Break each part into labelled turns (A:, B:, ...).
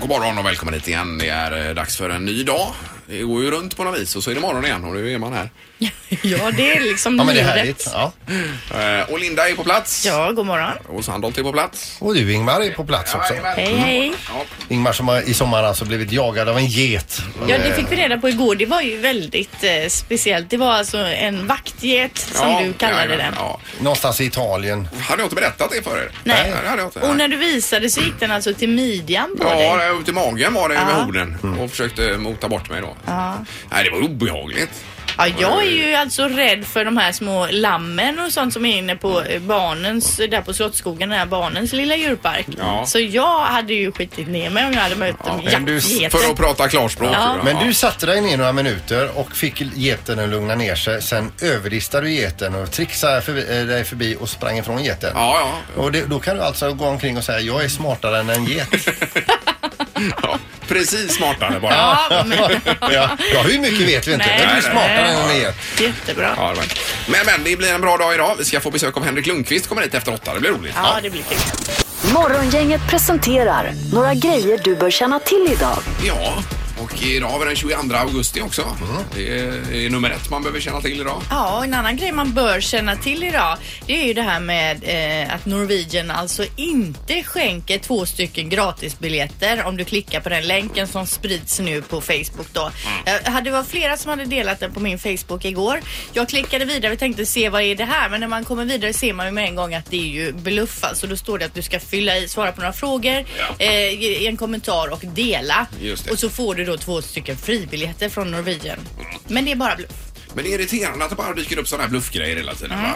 A: God morgon och välkommen hit igen. Det är eh, dags för en ny dag. Det går ju runt på något vis och så är det morgon igen och nu är man här.
B: Ja, det är liksom
C: Ja men det är
B: livet.
C: härligt. Ja.
A: Eh, Och Linda är på plats.
B: Ja, god morgon.
A: Och Sandholt är på plats. Mm.
C: Och du Ingmar är på plats också.
B: Hej, hej.
A: Ja,
C: Ingmar som har i sommar alltså blivit jagad av en get.
B: Ja, det fick vi reda på igår. Det var ju väldigt eh, speciellt. Det var alltså en vaktget som
A: ja,
B: du kallade
A: ja, ja,
B: den.
A: Ja.
C: Eh, Någonstans i Italien.
A: Hade jag inte berättat det för er?
B: Nej.
A: det hade jag inte.
B: Och när du visade så gick den alltså till midjan på
A: Ja,
B: dig.
A: det- upp till magen var det med hornen
C: Mm.
A: och försökte mota bort mig då. Nej, det var obehagligt.
B: Ja, jag är ju alltså rädd för de här små lammen och sånt som är inne på eh, barnens, där på Slottsskogen, den här barnens lilla djurpark.
A: Ja.
B: Så jag hade ju skitit ner mig om jag hade mött ja,
C: men du-
A: För att prata klarspråk.
B: Ja.
A: tror jag.
C: Men du satte dig ner några minuter och fick geten att lugna ner sig. Sen överlistade du geten och trixade förbi, eh, dig förbi och sprang ifrån geten.
A: Ja, ja.
C: Och det, då kan du alltså gå omkring och säga jag är smartare än en get.
A: ja. Precis smartare bara.
B: Ja, men,
C: ja. ja, hur mycket vet vi inte.
B: Nej,
C: Men du är
A: nej,
C: smartare
B: nej.
C: än en get.
B: jättebra.
A: Ja, det var det. men, men det blir en bra dag idag. Vi ska få besök av Henrik Lundqvist kommer hit efter åtta. Det blir roligt.
B: Ja, det blir kul.
D: Morgongänget presenterar några grejer du bör känna till idag.
A: Ja, och idag har vi den 22 augusti också. Det är, det är nummer ett man behöver känna till idag.
B: Ja, och en annan grej man bör känna till idag det är ju det här med eh, att Norwegian alltså inte skänker två stycken gratisbiljetter om du klickar på den länken som sprids nu på Facebook då.
A: Mm.
B: Jag hade, det var flera som hade delat den på min Facebook igår. Jag klickade vidare och tänkte se vad är det här men när man kommer vidare ser man ju med en gång att det är ju bluff alltså. Då står det att du ska fylla i, svara på några frågor,
A: Ja.
B: eh, ge en kommentar och dela.
A: Just det.
B: Och så får du då två stycken fribiljetter från Norwegian.
A: Mm.
B: Men det är bara bluff.
A: Men det är irriterande att det bara dyker upp sådana här bluffgrejer hela tiden. Va?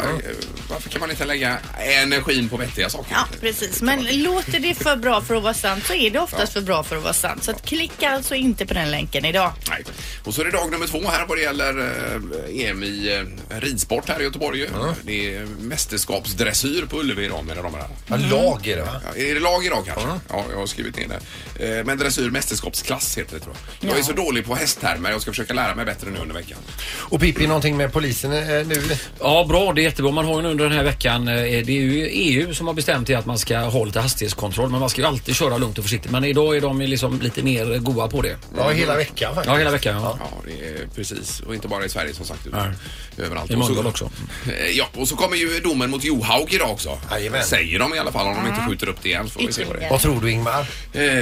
A: Varför kan man inte lägga energin på vettiga saker?
B: Ja, precis. Men låter det för bra för att vara sant så är det oftast för bra för att vara sant. Så att klicka alltså inte på den länken idag.
A: Nej. Och så är det dag nummer två här vad det gäller eh, EM i eh, ridsport här i Göteborg. ju. Det är mästerskapsdressyr på Ullevi idag med de här.
C: Ja, lag är det va?
A: Ja, är det lag idag kanske? Ja, jag har skrivit ner det. Eh, Men dressyr mästerskapsklass heter det tror jag. Jag är så dålig på hästtermer. Jag ska försöka lära mig bättre nu under veckan.
C: Och Pippi någonting med polisen eh, nu?
E: Ja, bra. Det är jättebra. Man har ju nu under den här veckan, eh, det är ju EU som har bestämt det att man ska ha lite hastighetskontroll. Men man ska ju alltid köra lugnt och försiktigt. Men idag är de ju liksom lite mer goa på det.
C: Ja, hela veckan faktiskt.
E: Ja, hela veckan. Ja.
A: Ja, det är precis. Och inte bara i Sverige som sagt. Utan
E: Nej.
A: överallt.
E: I
A: Och så-
E: Mölndal också.
A: Eh, Ja, och så kommer ju domen mot Johaug idag också.
C: Jajamän.
A: Säger de i alla fall om de inte skjuter upp det igen. så Får vi se vad det är.
C: Vad tror du Ingmar?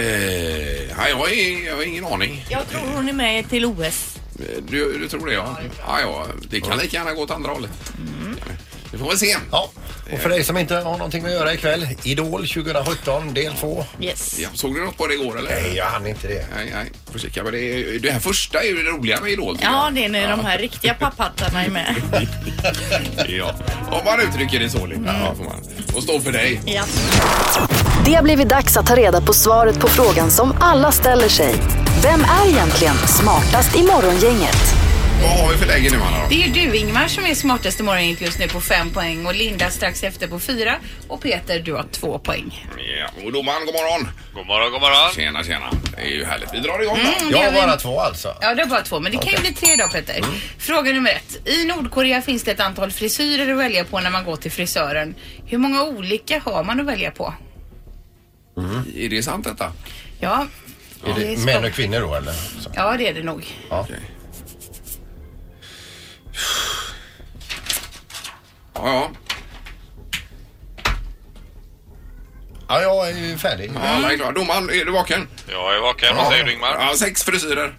A: Eh, ja, jag, är, jag har ingen aning.
B: Jag tror hon är med till OS.
A: Eh, Du, du tror det ja. ja, ja. Det kan lika gärna gå åt andra hållet.
B: Mm.
A: Vi får väl se.
C: Ja, och för dig som inte har någonting med att göra ikväll, Idol 2017 del 2.
B: Yes.
A: Ja, såg du något på det igår eller?
C: Nej, jag hann inte det.
A: Nej, nej. Får kika. Men det, är, det här första är ju det roliga med Idol. tycker
B: Ja,
A: jag.
B: det är när de här riktiga papphattarna är med.
A: ja. Om man uttrycker det så,
E: Mm.
A: Linda. Ja, får man. Och står för dig.
B: Ja.
D: Det har blivit dags att ta reda på svaret på frågan som alla ställer sig. Vem är egentligen smartast i morgongänget?
A: Vad har vi för läge nu, Anna? Då?
F: Det är ju du Ingmar som är smartast i morgongänget just nu på fem poäng och Linda strax efter på fyra och Peter du har två poäng.
A: Ja, och domaren, god morgon.
G: God morgon, god morgon.
A: Tjena, tjena. Det är ju härligt. Vi drar igång då.
C: Jag har bara två alltså.
F: Ja, det är bara två, men det kan ju bli tre idag Peter.
C: Mm.
F: Fråga nummer ett. I Nordkorea finns det ett antal frisyrer att välja på när man går till frisören. Hur många olika har man att välja på?
A: Är det sant detta?
F: Ja,
C: Är det
F: ska-
C: män och kvinnor då eller? Så.
F: ja det är det nog.
C: Ja.
A: Ja, ja.
C: ja, jag är ju färdig.
A: ja alla är klara. Domaren, är du vaken?
G: Jag är vaken. Vad säger du Ingmar?
A: Ja, sex frisyrer.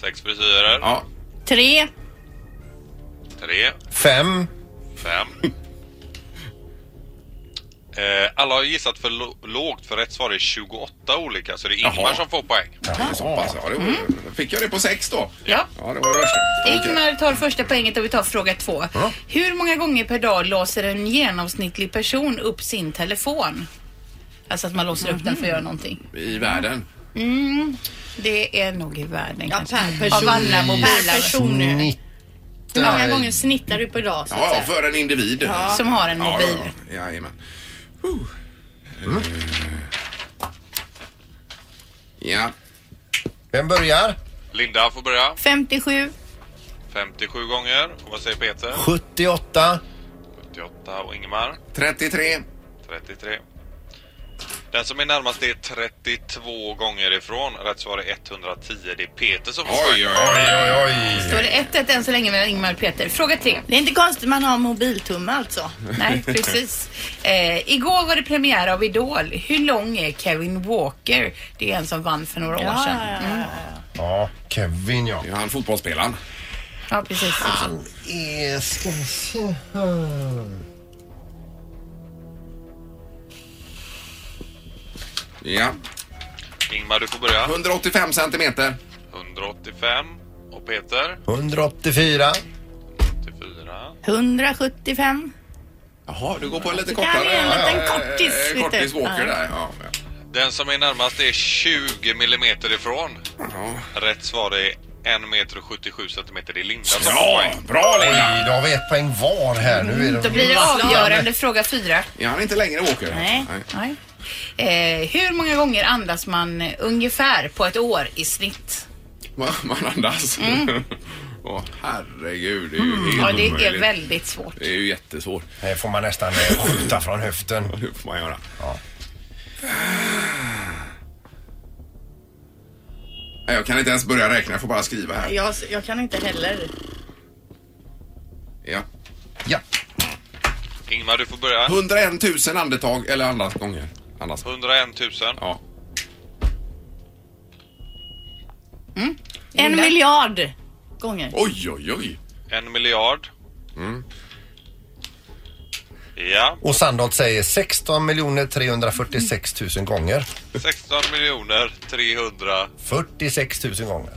G: Sex frisyrer.
A: Ja.
B: Tre.
G: Tre,
C: Fem.
G: fem. Eh, alla har gissat för lo- lågt för rätt svar är 28 olika så det är Ingmar
A: Jaha.
G: som får poäng.
A: ja. Så pass. Ja, det var... Fick jag det på sex då?
F: Ja.
A: Ja, det var det värsta. Okej.
F: Ingmar tar första poänget och vi tar fråga två. Hur många gånger per dag låser en genomsnittlig person upp sin telefon? Alltså att man låser upp den för att göra någonting.
A: I världen.
F: Det är nog i världen
B: Ja,
F: kanske.
B: per person.
F: Av alla
B: Per
F: mobiler
B: person nu.
C: Ni-
B: Hur många gånger snittar du på idag? Så att
A: Ja, ja,
B: säga?
A: för en individ. Ja.
F: som har en
A: Ja,
F: mobil.
A: ja, ja. Jajamän. Uh. Ja.
C: Vem börjar?
G: Linda får börja.
B: 57.
G: 57 gånger. Och vad säger Peter?
C: 78.
G: 78 och Ingmar
A: 33.
G: 33. Den som är närmast är 32 gånger ifrån. Rätt svar är 110. Det är Peter som får
A: Oj, oj,
G: poäng.
A: oj.
C: Oj, oj.
F: Då är det 1-1 än så länge mellan Ingmar och Peter. Fråga tre.
B: Det är inte konstigt man har mobiltumme alltså.
F: Nej, precis. Eh, igår var det premiär av Idol. Hur lång är Kevin Walker? Det är en som vann för några år sedan. Mm.
C: Ja, Kevin ja.
A: Det är han fotbollsspelaren.
F: Ja, precis.
C: Han är... Eh, Ska vi se här.
A: Ja.
G: Ingmar, du får börja.
A: 185 centimeter.
G: 185. Och Peter?
C: 184.
G: 84.
B: 175.
A: Jaha, du går på en lite
B: kan
A: kortare.
B: vi göra en
A: Ja,
B: liten
A: ja,
B: kortis,
A: eh,
B: lite.
A: Kortis walker
B: Ja.
A: där. Ja, ja.
G: Den som är närmast är 20 millimeter ifrån. Rätt svar är 1 meter och 77 centimeter. Det är Linda som får
A: Bra,
G: poäng.
A: bra Linda!
C: Oj, då har vi ett poäng var här. Nu är det...
F: Mm, Då blir det avgörande fråga fyra.
A: Är han inte längre walker?
B: Nej.
F: Nej. Eh, hur många gånger andas man ungefär på ett år i snitt?
A: Man man andas.
B: Mm.
A: Åh, herregud. Det är ju helt
F: Ja, det är
A: omöjligt.
F: väldigt svårt.
A: Det är ju jättesvårt.
C: Här får man nästan eh, skjuta från höften.
A: Hur får man göra?
C: Ja.
A: Nej, Jag kan inte ens börja räkna, jag får bara skriva här.
B: Jag, jag kan inte heller.
A: Ja.
C: ja.
G: Ingmar, du får börja.
A: 101 000 andetag, eller andningsgånger. Andas.
G: 101 000.
A: Ja.
B: En miljard gånger.
A: Oj, oj, oj.
G: En miljard.
A: Mm.
G: Ja,
C: Och Sandholt säger 16 miljoner 346 000 gånger.
G: 16 miljoner 346.
C: 46 000 gånger.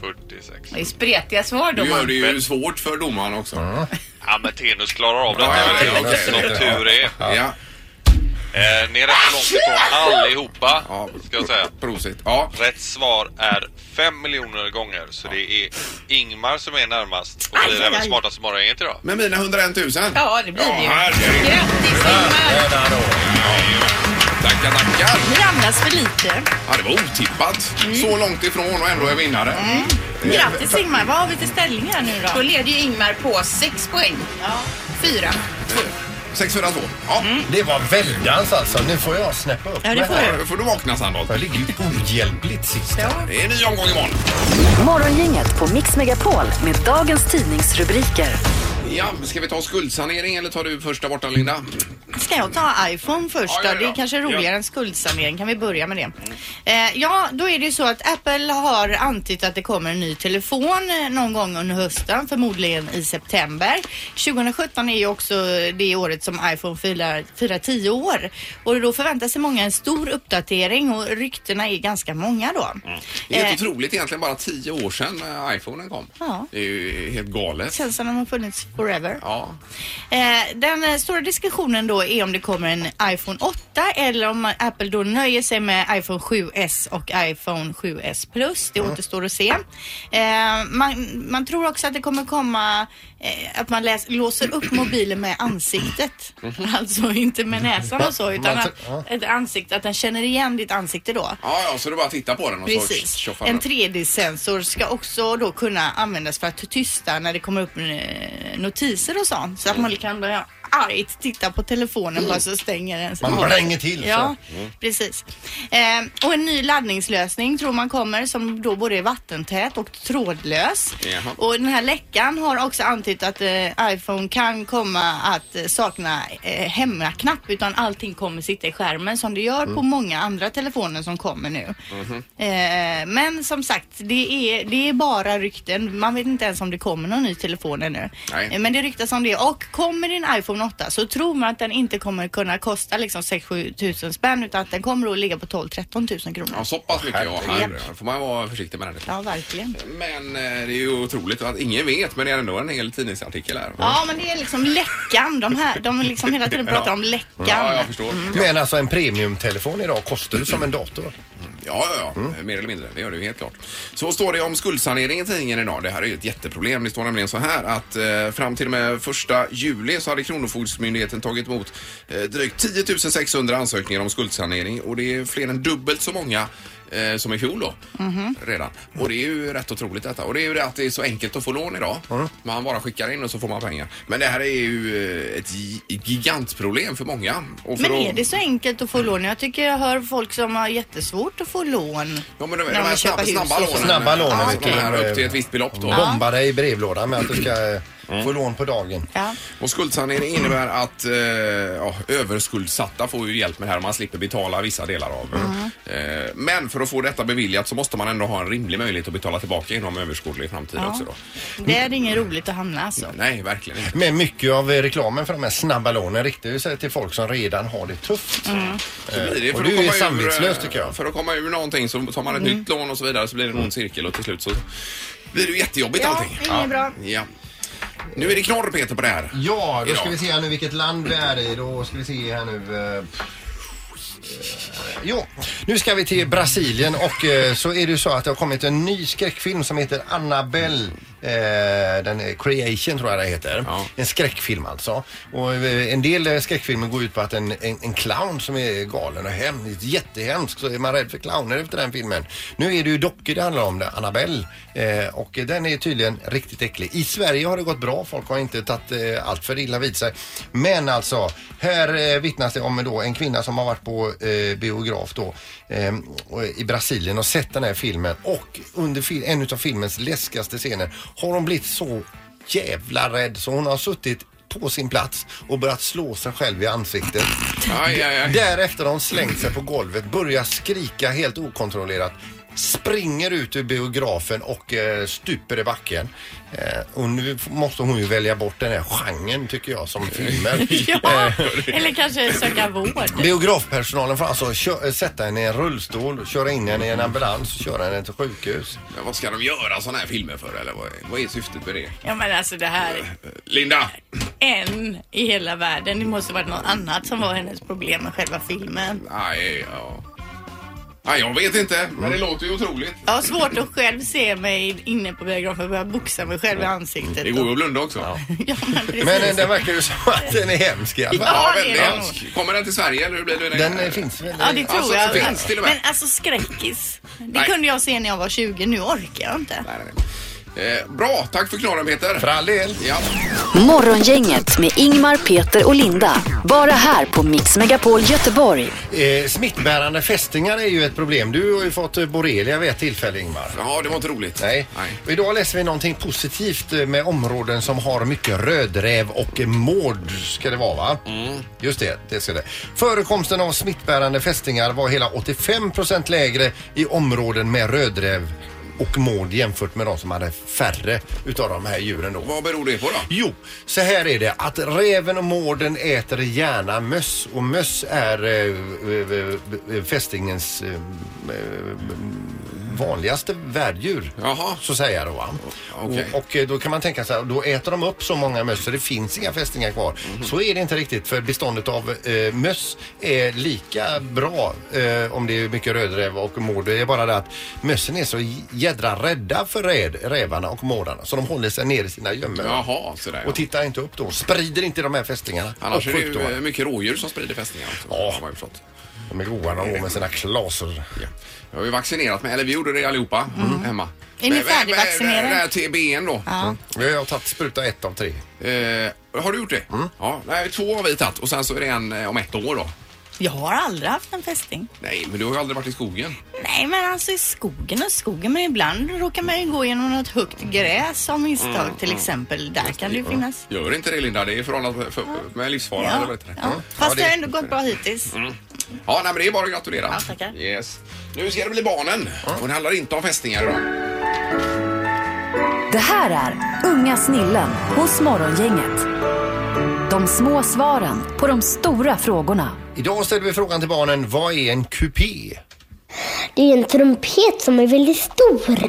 F: Det är spretiga svar
A: Du gör
F: domaren.
A: det ju svårt för domaren också.
G: Ja, men Tenus klarar av detta.
A: Ja, ja,
G: Ja,
A: ja, ja,
G: som
C: ja.
G: tur är.
A: Ja.
G: Eh, ni är rätt långt ifrån allihopa,
A: ja.
G: ska jag säga.
A: Prosit. Ja.
G: Rätt svar är 5 miljoner gånger, så det är Ingmar som är närmast och blir även smartast i morgongänget idag.
A: Men mina 101 000.
F: Ja, det blir det ju.
A: herregud.
F: Grattis Ingmar!
C: Där då.
A: Tackar, tackar.
B: Vi andas för lite.
A: Ja, det var otippat. Så långt ifrån och ändå är vinnare.
B: Mm. Grattis Ingmar. Vad har vi till ställning här nu
F: Då
B: då?
F: leder ju Ingmar på sex poäng. Fyra.
A: 602. Ja,
B: Mm.
C: Det var väldans alltså. Nu får jag snäppa upp
B: Ja, det
C: mig
B: får
C: här.
A: då får du vakna Sandholt.
C: Jag ligger ju ohjälpligt sist.
A: Det är en ny omgång imorgon.
D: Morgongänget på Mix Megapol med dagens tidningsrubriker.
A: Ja, ska vi ta skuldsanering eller tar du första borta Linda?
B: Ska jag ta iPhone först
A: Ja, ja,
B: då? Det
A: ja.
B: är kanske
A: Ja.
B: roligare än skuldsanering. Kan vi börja med det? Eh, ja, då är det ju så att Apple har antytt att det kommer en ny telefon eh, någon gång under hösten, förmodligen i september. 2017 är ju också det året som iPhone firar, firar 10 år och då förväntar sig många en stor uppdatering och ryktena är ganska många då.
A: Mm. Det är
B: Eh,
A: helt otroligt egentligen bara tio år sedan eh, iPhonen kom.
B: Ja.
A: Det är ju helt galet.
B: Känns som de har funnits forever.
A: Ja,
B: Eh, den eh, stora diskussionen då är om det kommer en iPhone 8 eller om Apple då nöjer sig med iPhone 7S och iPhone 7S Plus. Det återstår att se. Eh, man, man tror också att det kommer komma eh, att man läs, låser upp mobilen med ansiktet. Alltså inte med näsan och så utan
C: Man
B: att,
C: tr-
B: ett ansikte, att den känner igen ditt ansikte då.
A: ja, ja så du bara tittar på den och så
B: Precis.
A: tjoffar
B: En
A: den.
B: 3D-sensor ska också då kunna användas för att tysta när det kommer upp eh, notiser och sånt. Så att man kan börja argt titta på telefonen bara så stänger den sig.
C: Man blänger till, så. Mm.
B: Ja, precis. Eh, och en ny laddningslösning tror man kommer som då både är vattentät och trådlös.
A: Jaha.
B: Och den här läckan har också antytt att eh, iPhone kan komma att eh, sakna eh, hemmaknapp utan allting kommer sitta i skärmen som det gör på
A: Mm.
B: många andra telefoner som kommer nu.
A: Mhm.
B: Eh, men som sagt, det är, det är bara rykten. Man vet inte ens om det kommer någon ny telefon ännu.
A: Nej.
B: Eh, Men det ryktas om det. Och kommer din iPhone 8 så tror man att den inte kommer kunna kosta liksom 6-7 tusen spänn utan att den kommer att ligga på 12-13 tusen kronor.
A: Ja, så pass mycket ja. Här
B: Herregud.
A: får man vara försiktig med den.
B: Ja, verkligen.
A: Men eh, det är ju otroligt att ingen vet, men det är ändå en hel tidningsartikel här.
B: Ja, men det är liksom läckan. De, här, de liksom hela tiden pratar om läckan.
A: Ja, jag förstår.
C: Men alltså en premiumtelefon idag kostar ju som en dator.
A: Ja, ja, ja.
B: Mm.
A: mer eller mindre. Det gör det ju helt klart. Så står det om skuldsanering i tidningen idag. Det här är ju ett jätteproblem. Det står nämligen så här att eh, fram till och med första juli så hade Kronofogdemyndigheten tagit emot eh, drygt 10 600 ansökningar om skuldsanering och det är fler än dubbelt så många eh, eh, som i fjol då.
B: Mhm.
A: Redan. Och det är ju rätt otroligt detta. Och det är ju det att det är så enkelt att få lån idag. Man bara skickar in och så får man pengar. Men det här är ju eh, ett gi- gigantproblem för många. Och för
B: Men är
A: att-
B: det så enkelt att få lån? Jag tycker jag hör folk som har jättesvårt att få lån.
A: Ja, men de, de
B: man
A: här
B: köper
A: snabba, snabba
B: hus och
A: lånen.
C: Snabba lånen, eh,
A: Ja,
C: vet
A: de
C: du.
A: här upp till ett visst belopp då.
C: Bomba dig i brevlådan med att du ska eh,
B: Mm.
C: få lån på dagen.
B: Ja.
A: Och skuldsanering innebär att eh, ja, överskuldsatta får ju hjälp med det här och man slipper betala vissa delar av det.
B: Mm.
A: eh, Men för att få detta beviljat så måste man ändå ha en rimlig möjlighet att betala tillbaka inom överskådlig framtid också då.
B: Det är inget roligt att hamna alltså.
A: Nej, verkligen inte.
C: Men mycket av eh, reklamen för de här snabba lånen riktar ju sig till folk som redan har det tufft.
B: Mm.
A: Så blir det
C: Eh, Och
A: för
C: det är
A: att
C: ju
A: komma ur,
C: samvetslöst,
A: eh,
C: tycker jag. Mm.
A: För att komma ur någonting så tar man ett
B: Mm.
A: nytt lån och så vidare så blir det en ond cirkel och till slut så blir det ju jättejobbigt allting.
B: inget bra.
A: Ja. Nu är det knorr Peter på det här.
C: Ja, då ska
A: Idag.
C: vi se här nu vilket land vi är i. Då ska vi se här nu. eh, eh, Jo, nu ska vi till Brasilien och eh, så är det ju så att det har kommit en ny skräckfilm som heter Annabelle. Eh, den är Creation tror jag det heter.
A: Ja.
C: En skräckfilm alltså. Och eh, en del eh, skräckfilmer går ut på att en, en, en clown som är galen och hemsk, jättehemsk, så är man rädd för clowner efter den filmen. Nu är det ju dockor det handlar om, det, Annabelle. Eh, och den är tydligen riktigt äcklig. I Sverige har det gått bra, folk har inte tagit eh, allt för illa vid sig. Men alltså, här eh, vittnas det om då en kvinna som har varit på eh, biograf då eh, och- i Brasilien och sett den här filmen och under fil- en av filmens läskigaste scener har hon blivit så jävla rädd så hon har suttit på sin plats och börjat slå sig själv i ansiktet.
A: Aj, aj, aj.
C: Därefter har hon slängt sig på golvet, börjar skrika helt okontrollerat springer ut ur biografen och eh, stuper i backen. Eh, och nu f- måste hon ju välja bort den här genren tycker jag som filmer. Eh,
B: Ja, eller kanske söka vård.
C: Biografpersonalen får alltså kö- sätta henne i en rullstol, köra in henne i en ambulans och köra henne till sjukhus.
A: Men vad ska de göra sådana här filmer för eller vad är, vad är syftet med det?
B: Ja men alltså det här,
A: Linda!
B: en i hela världen. Det måste varit något annat som var hennes problem med själva filmen.
A: Nej, ja. Nej, jag vet inte, men det låter ju otroligt.
B: Jag har svårt att själv se mig inne på biografen och börja boxa mig själv i ansiktet.
A: Det går ju att blunda också. Ja,
B: Ja, men precis.
C: Men eh, den verkar ju som att den är hemsk i alla fall.
B: Ja, det är
A: väldigt
B: det.
A: hemsk. Kommer den till Sverige eller hur blir det?
C: Den eh, finns väl?
B: Ja, det tror
A: Alltså,
B: jag.
A: det finns till och med.
B: Men alltså skräckis. Det
A: Nej.
B: kunde jag se när jag var 20. Nu orkar jag inte.
A: Nej, nej, nej. Eh, bra, tack för knorren Peter.
C: För all del.
A: Ja.
D: Morgongänget med Ingmar, Peter och Linda. Bara här på Mix Megapol Göteborg.
C: Eh, smittbärande fästingar är ju ett problem. Du har ju fått eh, borrelia vid ett tillfälle Ingmar.
A: ja, det var inte roligt.
C: Nej. Och idag läser vi någonting positivt eh, med områden som har mycket rödräv och eh, mård ska det vara va? Just det, det ska det. Förekomsten av smittbärande fästingar var hela 85 lägre i områden med rödräv och mård jämfört med de som hade färre utav de här djuren då.
A: Vad beror det på då?
C: Jo, så här är det att räven och mården äter gärna möss och möss är eh, eh, eh, fästingens eh, eh, vanligaste värddjur.
A: Jaha.
C: Så säger jag då. va?
A: Okej.
C: Och, och eh, då kan man tänka så här, då äter de upp så många möss så det finns inga fästingar kvar.
A: Mhm.
C: Så är det inte riktigt för beståndet av eh, möss är lika bra eh, om det är mycket rödräv och mård. Det är bara det att mössen är så jädra rädda för räd, rävarna och mårdarna så de håller sig ner i sina gömmor.
A: Jaha, sådär ja.
C: Och tittar inte upp då. Sprider inte de här fästingarna.
A: Annars är
C: och
A: det ju eh,
C: sjukdomar.
A: mycket rådjur som sprider fästingar. också,
C: Ja.
A: har jag förstått.
C: De är goa de går
A: Mm.
C: med sina klasor.
A: Ja. Jag har ju vaccinerat mig, eller vi gjorde det allihopa hemma.
B: Är
A: Men-
B: ni
A: men- men-
B: färdigvaccinerade?
A: Det här TBN då.
C: Jag har tagit spruta ett av tre.
A: Eh, har du gjort det? Ja, nej, två har vi tagit och sen så är det en eh, om ett år då.
B: Jag har aldrig haft en fästing.
A: Nej, men du har ju aldrig varit i skogen.
B: Nej, men alltså i skogen och skogen. Men ibland råkar man ju gå genom något högt gräs av misstag
A: Mm,
B: till exempel. Där kan det ju finnas.
A: Gör inte det Linda, det är förhållandet för, med livsfara. Eller vad
B: Ja,
A: heter det? Mm.
B: ja. Fast
C: det-
B: det har ändå gått bra hittills.
A: Ja, nej, men det är bara att gratulera.
B: Ja, tackar.
A: Yes. Nu ska det bli barnen. Och det handlar inte om fästingar idag.
D: Det här är Unga snillen hos Morgongänget. De små svaren på de stora frågorna.
C: Idag ställer vi frågan till barnen. Vad är en kupé?
H: Det är en trumpet som är väldigt stor.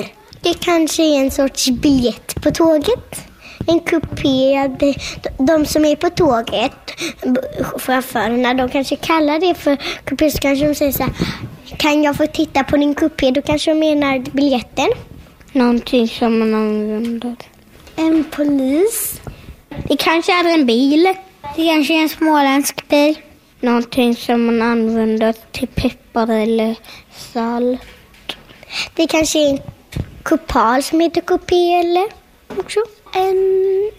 H: Det kanske är en sorts biljett på tåget. En kupé. De, de som är på tåget, b- chaufförerna, de kanske kallar det för kupé. Så kanske de säger så här, kan jag få titta på din kupé? Då kanske de menar biljetten. Någonting som man använder. En polis. Det kanske är en bil. Det kanske är en småländsk bil. Någonting som man använder till peppar eller salt. Det kanske är en kupal som heter kupé eller också. En,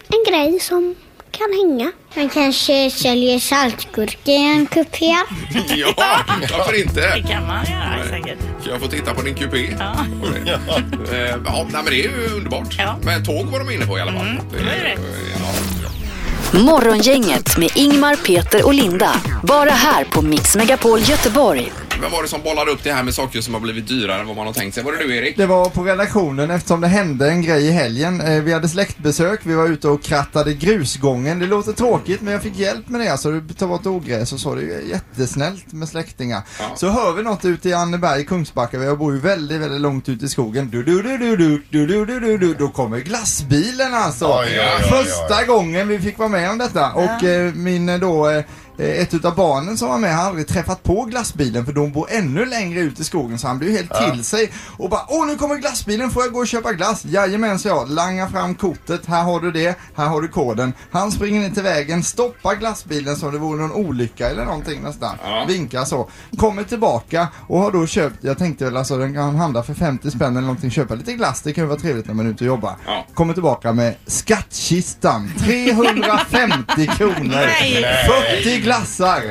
H: en grej som kan hänga. Man kanske säljer saltgurka i en kupé.
A: Ja, varför
B: Det
A: inte?
B: kan man göra säkert.
A: Kan jag få titta på din kupé? Ja. Eh, ja, nej, men det är ju underbart.
B: Ja. Mm.
A: Men tåg var de inne på i alla fall. Det
B: är rätt.
A: Ja, ja.
D: Morgongänget med Ingmar, Peter och Linda. Bara här på Mix Megapol Göteborg.
A: Vem var det som bollade upp det här med saker som har blivit dyrare än vad man har tänkt sig? Var det du Erik?
I: Det var på redaktionen eftersom det hände en grej i helgen. Eh, Vi hade släktbesök, vi var ute och krattade grusgången. Det låter tråkigt men jag fick hjälp med det. Alltså, du tar bort ogräs och så. Det är jättesnällt med släktingar. Så hör vi något ute i Anneberg, Kungsbacka, där jag bor ju väldigt, väldigt långt ut i skogen. Du, du, du, du, du, du, du, du, du, du. Då kommer glassbilen alltså.
C: Oj, oj, oj, oj.
I: Första gången vi fick vara med om detta. Och eh, min eh, då eh, eh, ett utav barnen som var med har aldrig träffat på glassbilen för de bor ännu längre ut i skogen så han blev ju helt till sig och bara åh nu kommer glassbilen får jag gå och köpa glass? Jajamän så jag, langar fram kortet, här har du det, här har du koden. Han springer ner till vägen, stoppar glassbilen som det vore någon olycka eller någonting nästan.
A: Ja.
I: Vinkar så. Kommer tillbaka och har då köpt, jag tänkte väl alltså den kan handla för 50 spänn eller någonting, köpa lite glass, det kan ju vara trevligt när man är ute och jobbar.
A: Ja.
I: Kommer tillbaka med skattkistan, 350 kronor.
B: Nej.
I: 40 glassar!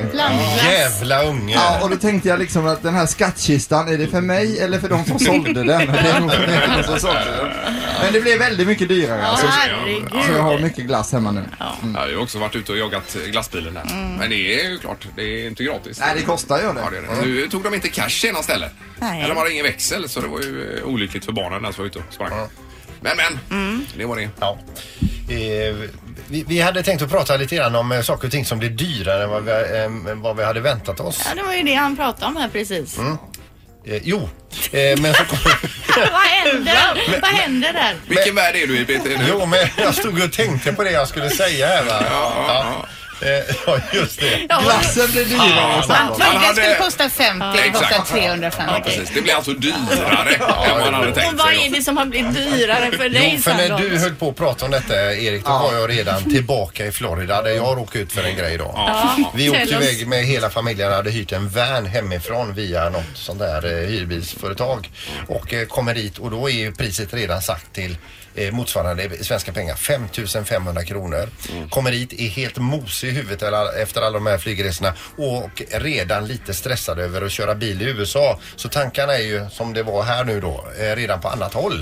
C: Jävla unge.
I: Ja, och då tänkte jag liksom att den här skattkistan, är det för mig eller för de som sålde den? Det är nog för mig som sålde den. Men det blev väldigt mycket dyrare alltså. Så jag har
B: Herregud.
I: mycket glass hemma nu.
A: Jag har ju också varit ute och jagat glassbilen där. Men det är ju klart, det är inte gratis.
I: Nej, det kostar ju
A: Ja, det
I: det. Mm.
A: är det. Nu tog de inte cash senast heller.
B: Nej.
A: Eller var det ingen växel så det var ju eh, olyckligt för barnen när som var ute och sprang. Men men, det var det.
C: Ja. Eh, vi, vi hade tänkt att prata lite grann om eh, saker och ting som blir dyrare än vad vi, eh, än vad vi hade väntat oss.
B: Ja, det var ju det han pratade om här precis.
A: Mm.
C: Eh, jo, eh, men så kom,
B: Vad händer? Vad händer där?
A: Vilken värld är du i Peter? Nu?
C: jo, men jag stod och tänkte på det jag skulle säga här va. Ja, Eh, ja just det.
B: Ja,
I: Glassen blir dyrare.
F: Man
I: sa de.
A: Han
F: trodde det
A: hade-
F: skulle kosta 50, det kostar
A: Exakt.
F: 350.
A: Ja, precis. Det blir alltså dyrare än man hade
B: och
A: tänkt
B: vad är
A: sig.
B: det som har blivit dyrare för dig
C: Jo, för när
B: Sandra?
C: du höll på att prata om detta Erik, då var jag redan tillbaka i Florida där jag råkade ut för en grej då. Vi åkte
B: Tell oss.
C: iväg med hela familjen hade hyrt en van hemifrån via något sånt där eh, hyrbilsföretag och eh, kommer dit och då är ju priset redan sagt till eh, motsvarande svenska pengar 5500 kronor. Kommer dit, är helt mosig i huvudet alla- efter alla de här flygresorna och redan lite stressad över att köra bil i USA. Så tankarna är ju som det var här nu då, eh, redan på annat håll.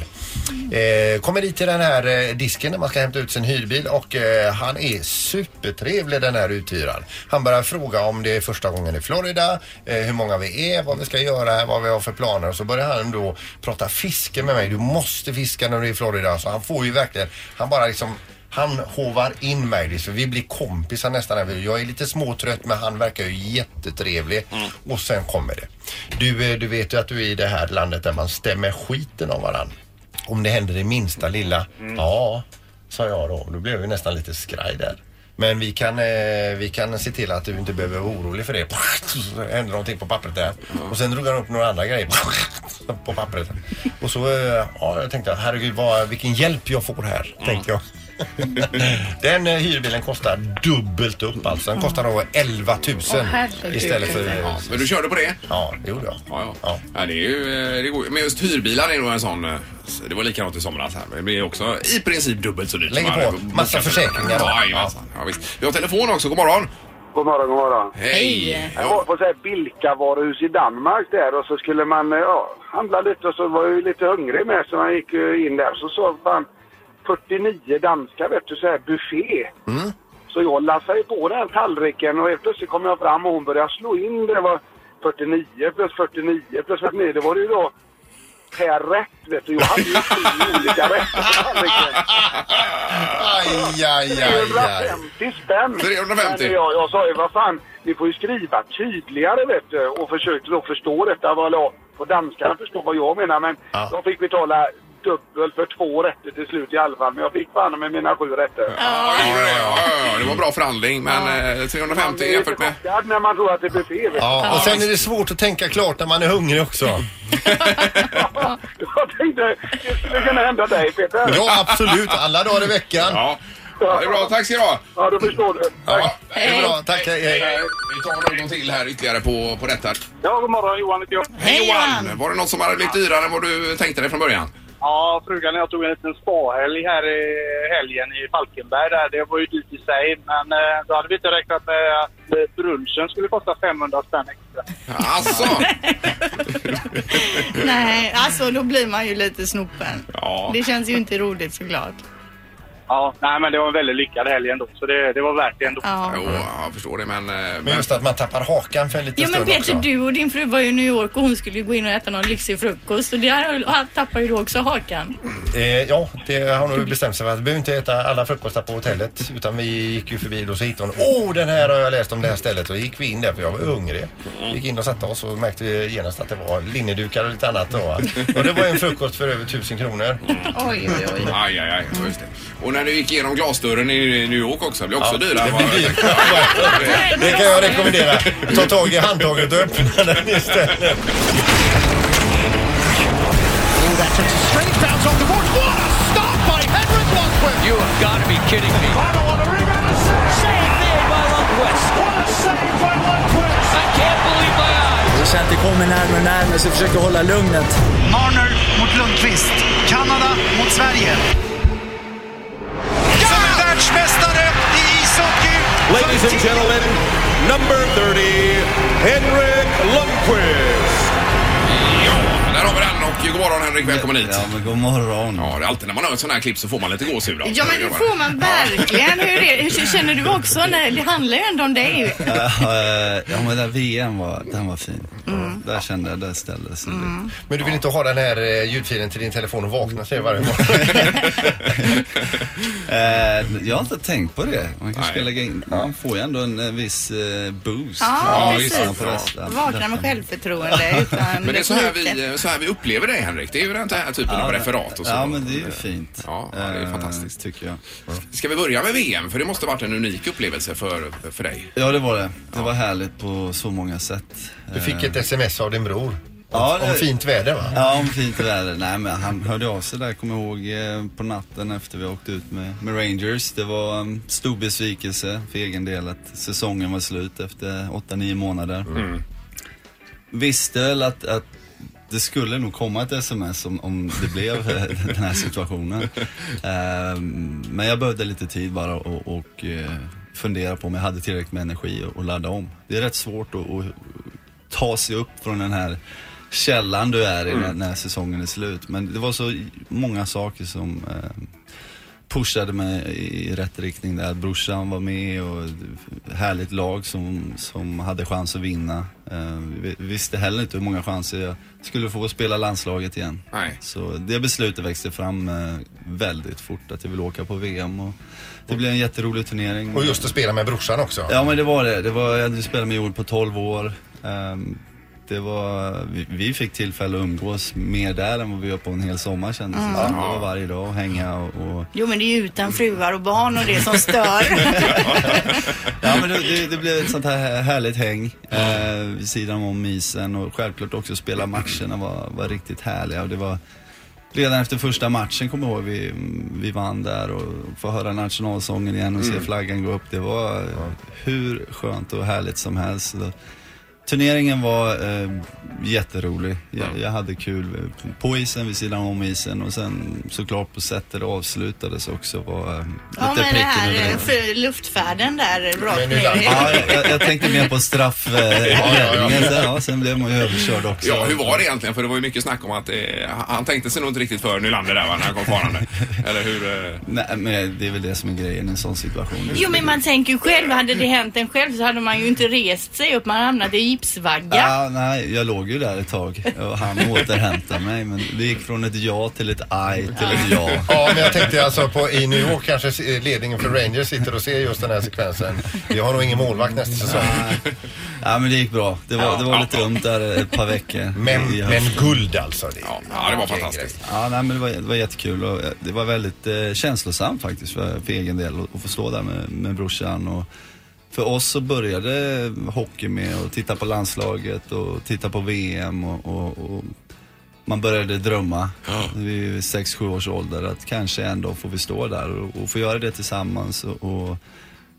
C: Eh, kommer dit till den här eh, disken när man ska hämta ut sin hyrbil och eh, han är supertrevlig den här uthyraren. Han börjar fråga om det är första gången i Florida, eh, hur många vi är, vad vi ska göra här, vad vi har för planer och så börjar han då prata fiske med mig. Du måste fiska när du är i Florida. Så han får ju verkligen, han bara liksom han hovar in mig, Det är så vi blir kompisar nästan. här. Jag är lite småtrött men han verkar ju jättetrevlig. Och sen kommer det. Du, eh, du vet ju att du är i det här landet där man stämmer skiten av varandra. Om det händer det minsta lilla.
A: Mm.
C: Ja, sa jag då. Då blev vi nästan lite skraj där. Men vi kan, eh, vi kan se till att du inte behöver vara orolig för det. Så hände någonting på pappret där.
A: Mm.
C: Och sen drog han upp några andra grejer på pappret. Och så eh, ja, jag tänkte jag, herregud vad, vilken hjälp jag får här.
A: Mm.
C: Tänkte jag. Den eh, hyrbilen kostar dubbelt upp alltså. Den kostar då 11 000
F: herregud.
C: istället för...
A: Ja, men du körde på det?
C: Ja, det gjorde jag.
A: Ja, ja. ja det är ju, eh, det går, ju- men just hyrbilar är nog en sån, eh, det var likadant i somras här, men det blir också i princip dubbelt så dyrt.
C: Lägger
A: som man
C: på
A: hade
C: massa
A: bokat.
C: försäkringar.
A: Ja, jajamensan. ja, visst. Vi har telefon också, god morgon.
J: God morgon, god morgon.
A: Hej!
J: Jag var på så här Bilka-varuhus i Danmark där och så skulle man eh, ja, handla lite och så var jag ju lite hungrig med så man gick ju in där. Så såg man 49 danska vet du, så här buffé.
E: Mm.
J: Så jag lassade ju på den här tallriken och helt plötsligt kom jag fram och hon började slå in det. var 49 plus 49 plus 49. Det var det ju då per rätt vet du. Jag hade ju sju olika rätter på tallriken.
C: Aj, aj, aj, aj.
J: 350 spänn.
A: 350.
J: Men Jag, jag sa ju, vad fan, ni får ju skriva tydligare vet du. Och försökte då förstå detta. Vad jag, och danskarna förstår vad jag menar. Men
C: Ja.
J: de fick betala dubbelt för två rätter till slut i alla fall. Men jag fick fan med mina sju rätter.
A: Ja, det gjorde det, ja, ja, ja, det var bra förhandling, men eh, 350
J: är
A: jämfört med...
J: chockad när man tror att det är buffé. vet du.
C: Ja, och sen är det svårt att tänka klart när man är hungrig också.
J: Jag tänkte, det skulle kunna hända dig Peter.
C: Ja, absolut. Alla dagar i veckan.
A: Ja. Ja, det är bra, tack ska du ha.
J: Ja, då förstår du.
A: Ja,
C: Det är bra, tack. Hej, hej.
A: Vi tar någon till här ytterligare på, på detta.
J: Ja, god morgon Johan heter jag.
A: Hej Johan! Var det något som hade blivit dyrare än vad du tänkte dig från början?
J: Ja, frugan och jag tog en liten spahelg här i helgen i Falkenberg. Där. Det var ju dyrt i sig, men eh, då hade vi inte räknat med att eh, brunchen skulle kosta 500 spänn extra.
A: Alltså.
B: Nej, alltså då blir man ju lite snopen.
A: Ja.
B: Det känns ju inte roligt såklart.
J: Ja, nej, men det var en väldigt lyckad helg ändå, så det, det var värt det ändå.
B: Ja.
A: Jo,
K: Mm.
A: jag förstår det men... eh,
C: Men
A: men
C: just att man tappar hakan för en liten
B: Ja men
C: stund
B: Peter,
C: också.
B: du och din fru var ju i New York och hon skulle ju gå in och äta någon lyxig frukost och där tappar ju du också hakan.
C: Eh, ja, det har hon nu bestämt sig för. Att vi behöver inte äta alla frukostar på hotellet. Utan vi gick ju förbi och så hittade hon. Åh, den här har jag läst om det här stället. Och gick vi in där för jag var hungrig. Gick in och satte oss och märkte vi genast att det var linnedukar och lite annat. Då. va? Och det var en frukost för över tusen kronor.
F: Oj, oj, oj.
A: Aj, aj, aj. Just det. Och när du gick igenom glasdörren i New York också, det blev också dyrare.
C: det
A: än vad
C: blir
A: jag
C: dyrt.
A: tänkte.
C: Det kan jag rekommendera. Ta tag i handtaget och öppna den istället.
K: Så att det kommer närmare och närmare så försöker hålla lugnet.
L: Marner mot Lundqvist. Kanada mot Sverige. Som är världsmästare i ishockey.
K: Ladies and gentlemen, number 30, Henrik Lundqvist.
A: Ja, där har vi den och god morgon Henrik, välkommen hit.
K: men god morgon.
A: Ja, det är alltid när man hör sådana här klipp så får man lite gåshud. av
B: Ja men det får man verkligen. Hur, är det? Hur känner du också? Nej, det handlar ju ändå om dig.
K: ja, men där VM var, den var fin. Mm. Där kände jag, där ställde sig mm.
C: Men du vill inte ha den här eh, ljudfilen till din telefon och vakna till varje morgon.
K: Eh, Jag har inte tänkt på det. Man kanske ska
A: Nej.
K: lägga in, man får ju ändå en eh, viss eh, boost.
B: Ja,
A: Ja,
B: precis.
A: visst.
K: Ja.
B: Vakna med självförtroende utan
A: Men det är så här,
B: lite-
A: vi, så här vi upplever dig Henrik. Det är ju den här typen av referat och så.
K: Ja, men det är ju fint.
A: Ja, ja, det är
K: Eh,
A: fantastiskt.
K: Tycker jag.
A: Ska vi börja med VM? För det måste ha varit en unik upplevelse för, för dig.
K: Ja, det var det. Det var härligt på så många sätt.
C: Du fick ett sms av din bror. Om,
K: Ja, det-
C: om fint väder va?
K: Ja, om fint väder. Nej, men han hörde av sig där, kommer jag ihåg, eh, på natten efter vi åkte ut med, med Rangers. Det var en stor besvikelse för egen del att säsongen var slut efter 8-9 månader.
A: Mm.
K: Visste väl att, att det skulle nog komma ett sms om, om det blev eh, den här situationen. Eh, Men jag behövde lite tid bara och, och eh, fundera på om jag hade tillräckligt med energi och- och ladda om. Det är rätt svårt att, att ta sig upp från den här källan du är i när, när säsongen är slut. Men det var så många saker som eh, pushade mig i rätt riktning där. Brorsan var med och ett härligt lag som, som hade chans att vinna. Eh, vi- visste heller inte hur många chanser jag skulle få att spela landslaget igen.
A: Nej.
K: Så det beslutet växte fram eh, väldigt fort att jag ville åka på VM och det blev en jätterolig turnering.
C: Och just att spela med brorsan också.
K: Ja men det var det. det var, jag hade spelat med Joel på 12 år. Ehm, det var, vi, vi fick tillfälle att umgås mer där än vad vi gör på en hel sommar kändes det som. Det var varje dag och hänga och, och
B: Jo men det är ju utan fruar och barn och det som stör.
K: Ja men det, det, det blev ett sånt här härligt häng eh, vid sidan om isen och självklart också spela matcherna var, var riktigt härliga och det var Redan efter första matchen kommer jag ihåg, vi, vi vann där och få höra nationalsången igen och se flaggan gå upp. Det var eh, hur skönt och härligt som helst. Så, turneringen var eh, jätterolig. Jag, jag hade kul eh, på isen, vid sidan om isen och sen såklart på sättet det avslutades också var eh, lite
B: Ja men det
K: pricken
B: här
K: över
B: eh,
K: i.
B: för luftfärden där rakt
C: Men nu
B: ner.
C: landar-
K: Ja, jag, jag tänkte mer på straffräddningen. Ja, ja, ja. Sen blev man ju överkörd också.
A: Ja, hur var det egentligen? För det var ju mycket snack om att eh, han tänkte sig nog inte riktigt för Nylander där va, när han kom farande. Eller hur? Eh,
K: Nej, men det är väl det som är grejen i en sån situation.
B: Jo men man tänker ju själv, hade det hänt en själv så hade man ju inte rest sig upp, man hade hamnat i gipsvagga.
K: Ah, nej, jag låg ju där ett tag och han återhämtade mig. Men det gick från ett ja till ett aj till ett ja.
C: Ja, men jag tänkte alltså på i New York kanske se- ledningen för Rangers sitter och ser just den här sekvensen. Vi har nog ingen målvakt nästa säsong.
K: Ja, men det gick bra. Det var, det var lite ömt där ett par veckor.
C: Men,
K: i
C: men
K: höften.
C: guld alltså. Det.
A: ja, ja, det var fantastiskt.
K: Ja, nej, men det, var, det var jättekul och eh, det var väldigt eh, känslosamt faktiskt för, för egen del att- att få stå där med, med brorsan. Och för oss så började hockey med att titta på landslaget och titta på VM och, och, och man började drömma vid 6-7 års ålder att kanske en dag får vi stå där och, och få göra det tillsammans. Och, och,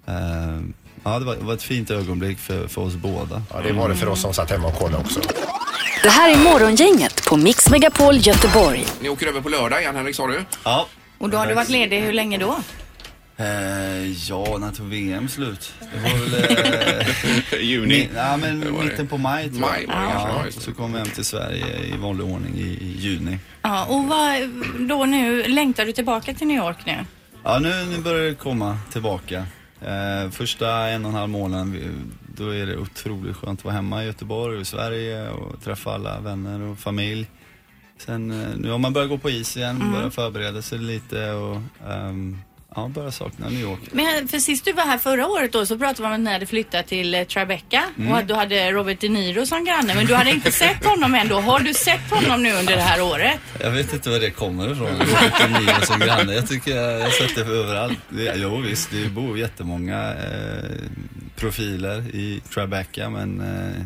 K: eh, ja, det var, det var ett fint ögonblick för, för oss båda.
C: Ja, det var det för oss som satt hemma och kollade också.
K: Mm.
D: Det här är Morgongänget på Mix Megapol Göteborg.
A: Ni åker över på lördag igen Henrik sa du?
K: Ja.
B: Och då har du varit ledig hur länge då?
K: Eh, ja, när tog VM slut? Det var väl... Eh,
A: Juni?
K: Mi, ja, men
A: Det var det.
K: mitten på maj tror jag.
A: Maj var det kanske, ja,
K: ja, och så kom vi hem till Sverige i vanlig ordning i, i juni.
B: Ja, och vad, då nu, längtar du tillbaka till New York nu?
K: Ja, nu, nu börjar det komma tillbaka. Eh, första en och en halv månaden, vi- då är det otroligt skönt att vara hemma i Göteborg och i Sverige och träffa alla vänner och familj. Sen, eh, nu har man börjat gå på is igen,
B: Mm.
K: börjat förbereda sig lite och ehm, ja, börjar sakna New York.
B: Men för sist du var här förra året då så pratade man om att ni hade flyttat till eh, Tribeca
K: Mm.
B: och att du hade Robert De Niro som granne men du hade inte sett honom ändå. Har du sett honom nu under det här året?
K: Jag vet inte var det kommer ifrån. Vilken liv som granne. Jag tycker jag jag har sett det överallt. Det- Jo visst, det bor jättemånga eh, profiler i Tribeca men... Eh,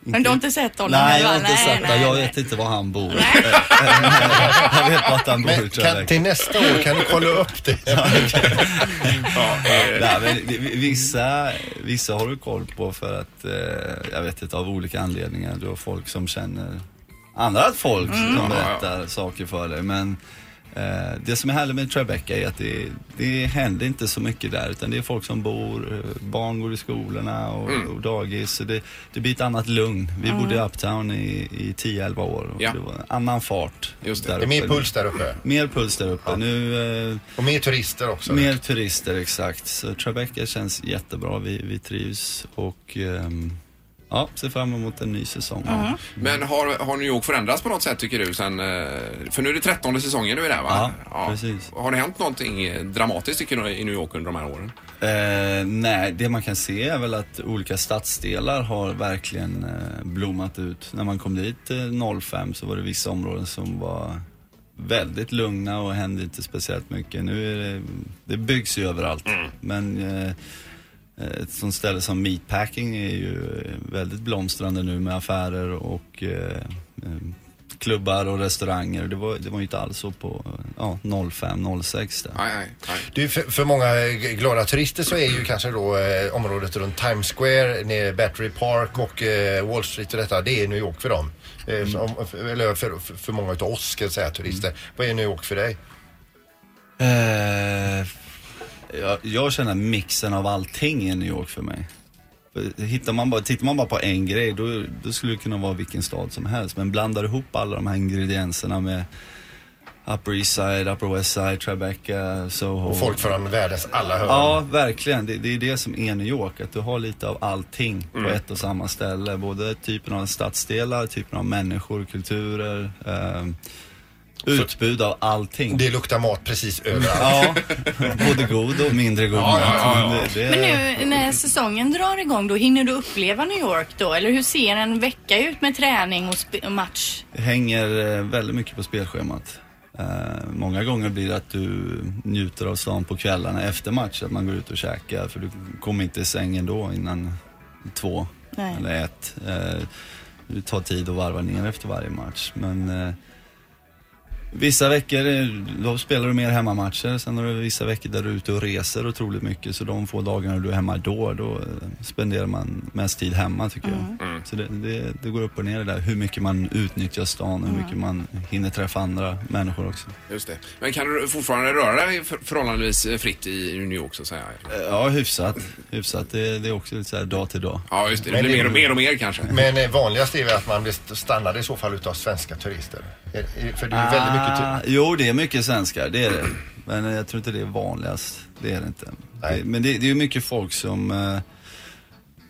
B: Men du har inte sett honom?
K: Nej,
B: eller?
K: jag har inte
B: Nej,
K: sett
B: nej,
K: det. Jag
B: nej.
K: vet inte var han bor. jag vet bara att han bor i Tribeca.
C: Kan, till nästa år kan du kolla upp det.
A: eh,
K: Nej, men vi- vi- vissa, vissa har du koll på för att, eh, jag vet inte, av olika anledningar. Du har folk som känner annat folk
G: Mm.
K: som
G: Ja, ja.
K: berättar saker för dig. Men eh, det som är härligt med Tribeca är att det, det händer inte så mycket där utan det är folk som bor, eh, barn går i skolorna och, och dagis. Så det, det blir ett annat lugn. Vi
C: Mm.
K: bodde i Uptown i, i 10-11 år och det var en annan fart. Just
C: Det är mer puls där uppe.
K: Mer puls där uppe. Nu, eh,
C: och mer turister också.
K: Mer turister, exakt. Så Tribeca känns jättebra. Vi, vi trivs och ehm, ja, ser fram emot en ny säsong.
A: Men har, har New York förändrats på något sätt tycker du? Sen, eh, för nu är det trettonde säsongen du är där va? Ja, precis. Har det hänt någonting eh, dramatiskt tycker du i New York under de här åren?
K: Eh, nej, det man kan se är väl att olika stadsdelar har verkligen eh, blommat ut. När man kom dit eh, 05 så var det vissa områden som var väldigt lugna och hände inte speciellt mycket. Nu är det, det byggs ju överallt. Men eh, ett sånt ställe som Meatpacking är ju eh, väldigt blomstrande nu med affärer och eh, eh, klubbar och restauranger. Det var, det var ju inte alls så på eh, ja, 05, 06 där.
C: Du, för, för många eh, glada turister så är ju kanske då eh, området runt Times Square, nere Battery Park och eh, Wall Street och detta, det är New York för dem. Eh,
K: Mm.
C: som- för- eller för, för, för många utav oss ska jag säga, turister. Vad är New York för dig?
K: Eh, jag, jag känner mixen av allting i New York för mig. För Hittar man bara, tittar man bara på en grej då, då skulle det kunna vara vilken stad som helst. Men blandar ihop alla de här ingredienserna med Upper East Side, Upper West Side, Tribeca, Soho.
C: Och folk från världens alla hörn.
K: Oh. Ja, verkligen. Det, det är det som är New York, att du har lite av allting på
C: Mm.
K: ett och samma ställe. Både typen av stadsdelar, typen av människor, kulturer. ehm, utbud av allting.
C: Det luktar mat precis överallt.
K: Ja, både god och mindre god
C: Ja,
K: mat.
C: ja, ja, ja.
K: Men det- det-
B: Men
K: Eh,
B: nu när säsongen drar igång då, hinner du uppleva New York då? Eller hur ser en vecka ut med träning och sp- och match?
K: hänger eh, väldigt mycket på spelschemat. Eh, många gånger blir det att du njuter av stan på kvällarna efter match, att man går ut och käkar för du kommer inte i sängen då innan två
B: Nej.
K: eller ett. Eh, det tar tid att varva ner efter varje match men eh, Vissa veckor eh, då spelar du mer hemmamatcher, sen har du vissa veckor där du är ute och reser otroligt mycket så de få dagarna du är hemma då, då eh, spenderar man mest tid hemma tycker jag. Så det, det, det går upp och ner det där, hur mycket man utnyttjar stan, hur mycket man hinner träffa andra människor också.
A: Just det. Men kan du fortfarande röra dig för- förhållandevis eh, fritt i New York så att säga?
K: Eh, Ja, hyfsat. hyfsat. Det, det är också lite så här dag till dag.
A: Ja, just det. Det
K: Men
A: blir
K: det-
A: mer och mer och mer kanske.
C: Men eh, vanligast är väl att man blir st- stannad i så fall utav svenska turister. Eh, eh, För det är ju väldigt mycket tur-
K: Ah, Jo, det är mycket svenskar, det är det. Men eh, jag tror inte det är vanligast. Det är det inte. Det, men det, det är ju mycket folk som, eh,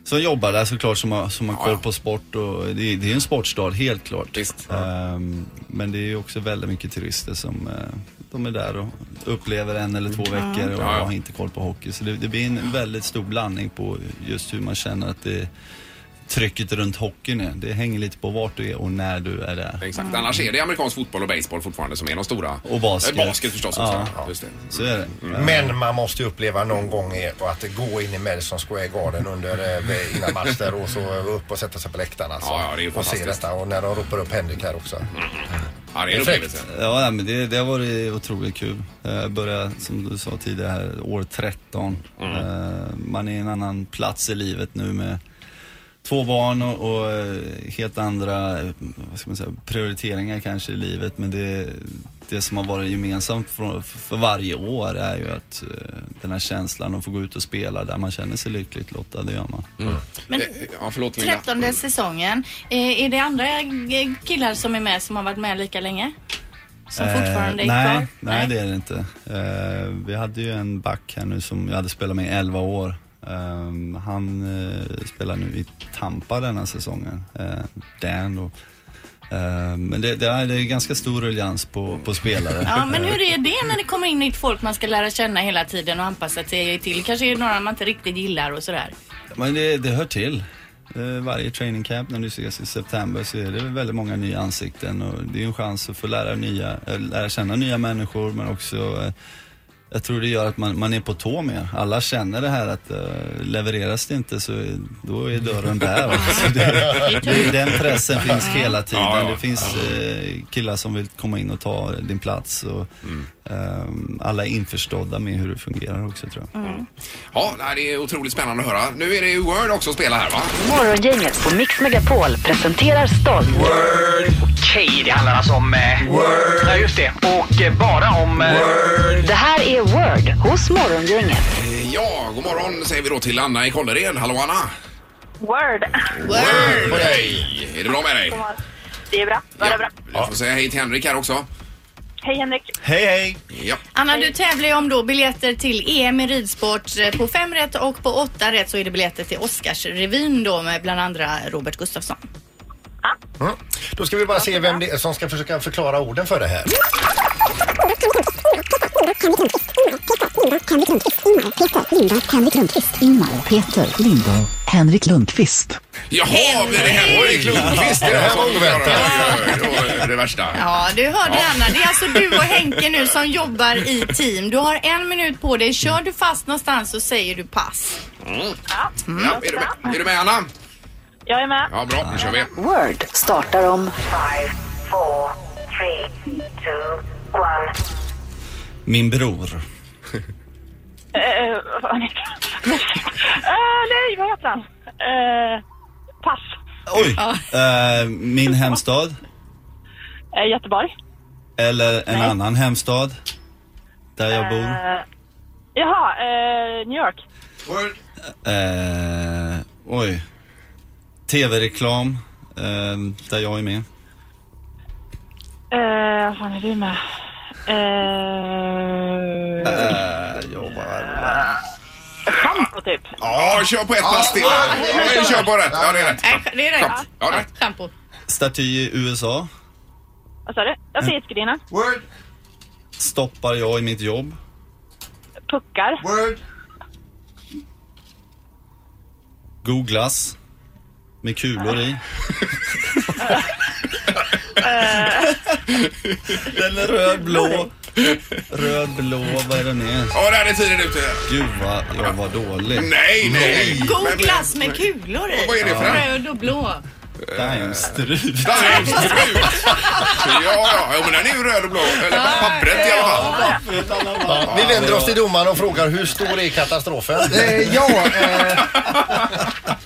K: som jobbar där såklart, som har, som har koll på sport. Och, det, är- det är ju en sportstad, helt klart. Ehm, men det är ju också väldigt mycket turister som eh, de är där och upplever en eller två
G: Mm.
K: veckor och
G: Ja, ja.
K: har inte koll på hockey. Så det, det blir en väldigt stor blandning på just hur man känner att det trycket runt hockeyn är. Det hänger lite på vart du är och när du är där.
A: Exakt. Annars är det amerikansk fotboll och baseball fortfarande som är de stora.
K: Och basket.
A: Eh, basket förstås också.
K: Ja.
A: Just det.
K: Så är det.
C: Men man måste ju uppleva någon gång i- och att gå in i Madison Square Garden under eh, innan match där och så upp och sätta sig på läktarna. Så.
A: Ja, ja, det är ju
C: och se
A: fantastiskt.
C: detta och när de ropar upp Henrik här också.
A: Ja, det är en
C: Perfekt.
A: upplevelse.
K: Ja, nej, men det, det har varit otroligt kul. Jag började, som du sa tidigare, här, år 13. Eh, Man är i en annan plats i livet nu med två barn och, och eh, helt andra eh, vad ska man säga, prioriteringar kanske i livet. Men det, det som har varit gemensamt för, för varje år är ju att eh, den här känslan att få gå ut och spela där man känner sig lyckligt lottad, det gör man.
B: Men-
A: Eh, Ja, förlåt Linda.
B: Trettonde säsongen. Eh, är det andra eh, killar som är med som har varit med lika länge? Som fortfarande
K: Eh,
B: är
K: nej,
B: kvar?
K: Nej, det är det inte. Eh, vi hade ju en back här nu som jag hade spelat med i 11 år. Eh, han eh, spelar nu i Tampa denna säsongen, eh, Dan då. Eh, men det, det, är, det är ganska stor ruljans på, på spelare.
B: Ja, men hur är det när det kommer in nytt folk man ska lära känna hela tiden och anpassa sig till? Kanske är det några man inte riktigt gillar och sådär.
K: Men det, det hör till. Eh, Varje training camp när du ses i september så är det väldigt många nya ansikten och det är en chans att få lära, nya, eh, lära känna nya människor men också eh, jag tror det gör att man, man är på tå mer. Alla känner det här att eh, levereras det inte så är- då är dörren där. va. Så det, det,
B: Typ.
K: den pressen finns hela tiden.
A: Ja, ja.
K: Det finns eh, killar som vill komma in och ta din plats och
A: Mm.
K: ehm, alla är införstådda med hur det fungerar också tror jag.
A: Ja, nej, det är otroligt spännande att höra. Nu är det ju Word också att spela här va?
D: Morgongänget på Mix Megapol presenterar stolt.
L: Word. Okej, det handlar alltså om... Eh, Word. Ja, just det. Och eh, bara om... Eh,
D: Det här är Word hos Morgongänget.
A: Eh, Ja, god morgon säger vi då till Anna i Kållered. Hallå Anna!
M: Word.
A: Word på dig! Är det bra med dig?
M: Det är bra. Bara bra.
A: Vi får säga hej till Henrik här också.
M: Hej Henrik.
K: Hej hej!
A: Ja.
B: Anna, du tävlar ju om då biljetter till EM i ridsport. Eh, På fem rätt och på åtta rätt så är det biljetter till Oscarsrevyn då med bland andra Robert Gustafsson.
C: Mm. Då ska vi bara se vem det är som ska försöka förklara orden för det här.
N: Henrik Lundqvist, Ingmar, Peter Lindor, Henrik Lundqvist.
A: Jaha, men det här var ju Klokvist. Det här var oväntat. Det, det värsta.
B: Ja, du hörde Anna. Det är alltså du och Henke nu som jobbar i team. Du har en minut på dig. Kör du fast någonstans så säger du pass.
A: Mm. Ja, är, du med? är du med Anna?
M: Jag är med.
A: Ja, bra. Nu kör vi.
D: Word startar om
K: Min bror.
M: Eh, vad heter han? Eh, nej, vad heter han? Eh, pass.
K: Oj! Eh, min hemstad.
M: Eh, Göteborg.
K: Eller en annan hemstad. Där jag bor.
M: Eh, jaha, eh, New York.
K: Eh, oj. TV-reklam. eh, där jag är med.
M: Eh, vad fan är du med? Eh,
K: Eh, jag bara...
M: Schampo typ.
A: Ja, kör på ett pass till.
M: Ja,
A: Ja, kör på rätt. Ja, det är rätt.
B: Nej, det är rätt.
A: Ja, det är rätt.
B: Shampoo.
K: Staty i USA.
M: Vad sa du? Jag säger skrina. Word.
K: Stoppar jag i mitt jobb.
M: Puckar. Word.
K: Googlas. Med kulor i. Den är röd, blå. Röd, blå. Vad är det mer?
A: Ja, där är tiden ute.
K: Gud vad jag var dålig.
A: Nej, nej.
B: God glass med kulor i.
A: Vad är det för en?
B: Röd och blå.
K: Daimstrut.
A: Ja, ja, jo, men den är ju röd och blå. Eller på pappret i alla fall.
C: Ja, vi vänder oss till domaren och frågar hur stor är katastrofen?
I: Eh, ja, eh,